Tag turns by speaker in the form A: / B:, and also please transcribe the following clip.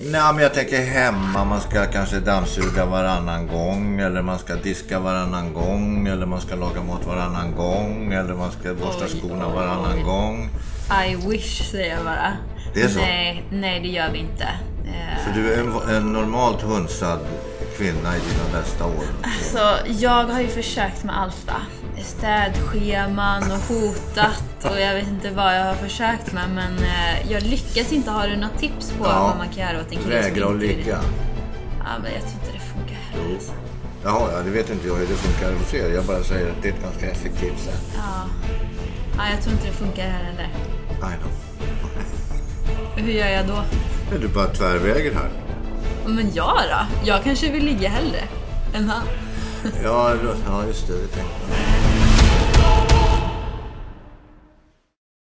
A: Nej, men jag tänker hemma. Man ska kanske dammsuga varannan gång. Eller man ska diska varannan gång. Eller man ska laga mat varannan gång. Eller man ska borsta
B: Oj,
A: skorna
B: oj,
A: varannan
B: oj.
A: gång.
B: I wish säger jag bara.
A: Det är så?
B: Nej, nej det gör vi inte. Eh,
A: För du är en, en normalt hunsad kvinna i dina bästa år.
B: Så jag har ju försökt med allt va. Städscheman och hotat och jag vet inte vad jag har försökt med men eh, jag lyckas inte. Har du något tips på
A: Ja.
B: vad man kan göra åt en kille som
A: Vägra att
B: inte vill-
A: ligga.
B: Ja men jag tror inte det funkar heller. alltså.
A: Jaha, ja, det vet inte jag hur det funkar hos er. Jag bara säger att det är ett ganska effektivt sätt.
B: Ja. ja, jag tror inte det funkar här heller.
A: I know.
B: Hur gör jag då?
A: Är du bara tvärvägen här?
B: Men jag då? Jag kanske vill ligga hellre än han.
A: Ja, då- ja just det. Det tänkte jag.